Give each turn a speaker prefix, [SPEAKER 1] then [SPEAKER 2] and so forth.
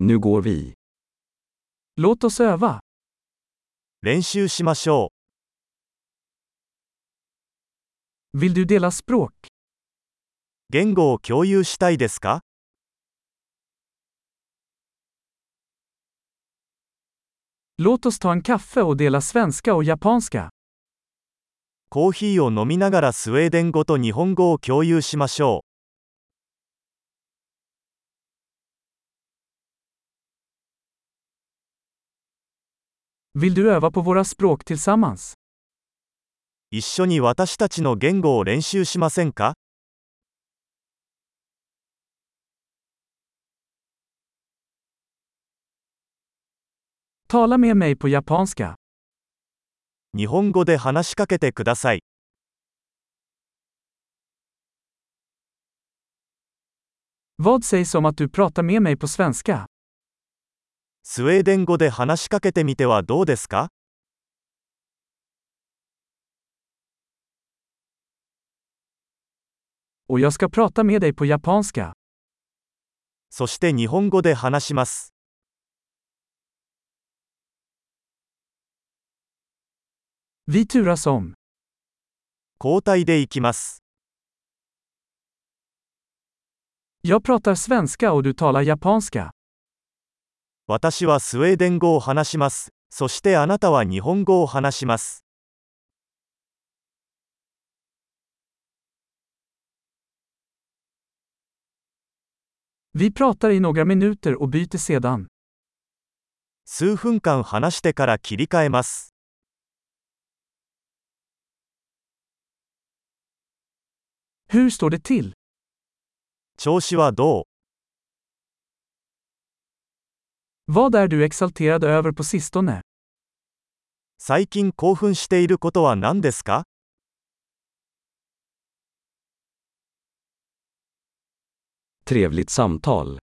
[SPEAKER 1] Nu går vi.
[SPEAKER 2] Låt oss öva.
[SPEAKER 3] 練習しましょ
[SPEAKER 2] Vill du dela språk?
[SPEAKER 3] う。言語を共有したいですか
[SPEAKER 2] Låt oss ta en kaffe och dela svenska och japanska.
[SPEAKER 3] コーヒーを飲みながらスウェーデン語と日本語を共有しましょ
[SPEAKER 2] Vill du öva på våra språk tillsammans?
[SPEAKER 3] う。一緒に私たちの言語を練習しませんか
[SPEAKER 2] Tala med mig på japanska.
[SPEAKER 3] 日本語で話しかけてください。
[SPEAKER 2] Vad sägs om att du pratar med mig på svenska?
[SPEAKER 3] スウェーデン語で話しかけてみてはどうですか
[SPEAKER 2] Och jag ska prata med dig på japanska.
[SPEAKER 3] そして日本語で話します。
[SPEAKER 2] Vi turas om.
[SPEAKER 3] 交代でいきます。
[SPEAKER 2] Jag pratar svenska och du talar japanska.
[SPEAKER 3] 私はスウェーデン語を話します。そしてあなたは日本語を話します。
[SPEAKER 2] Vi pratar i några minuter och byter sedan.
[SPEAKER 3] 数分間話してから切り替えます。
[SPEAKER 2] Hur står det till?
[SPEAKER 3] 調子はどう
[SPEAKER 2] Vad är du exalterad över på sistone?
[SPEAKER 3] 最近興奮していることは何ですか
[SPEAKER 1] Trevligt samtal.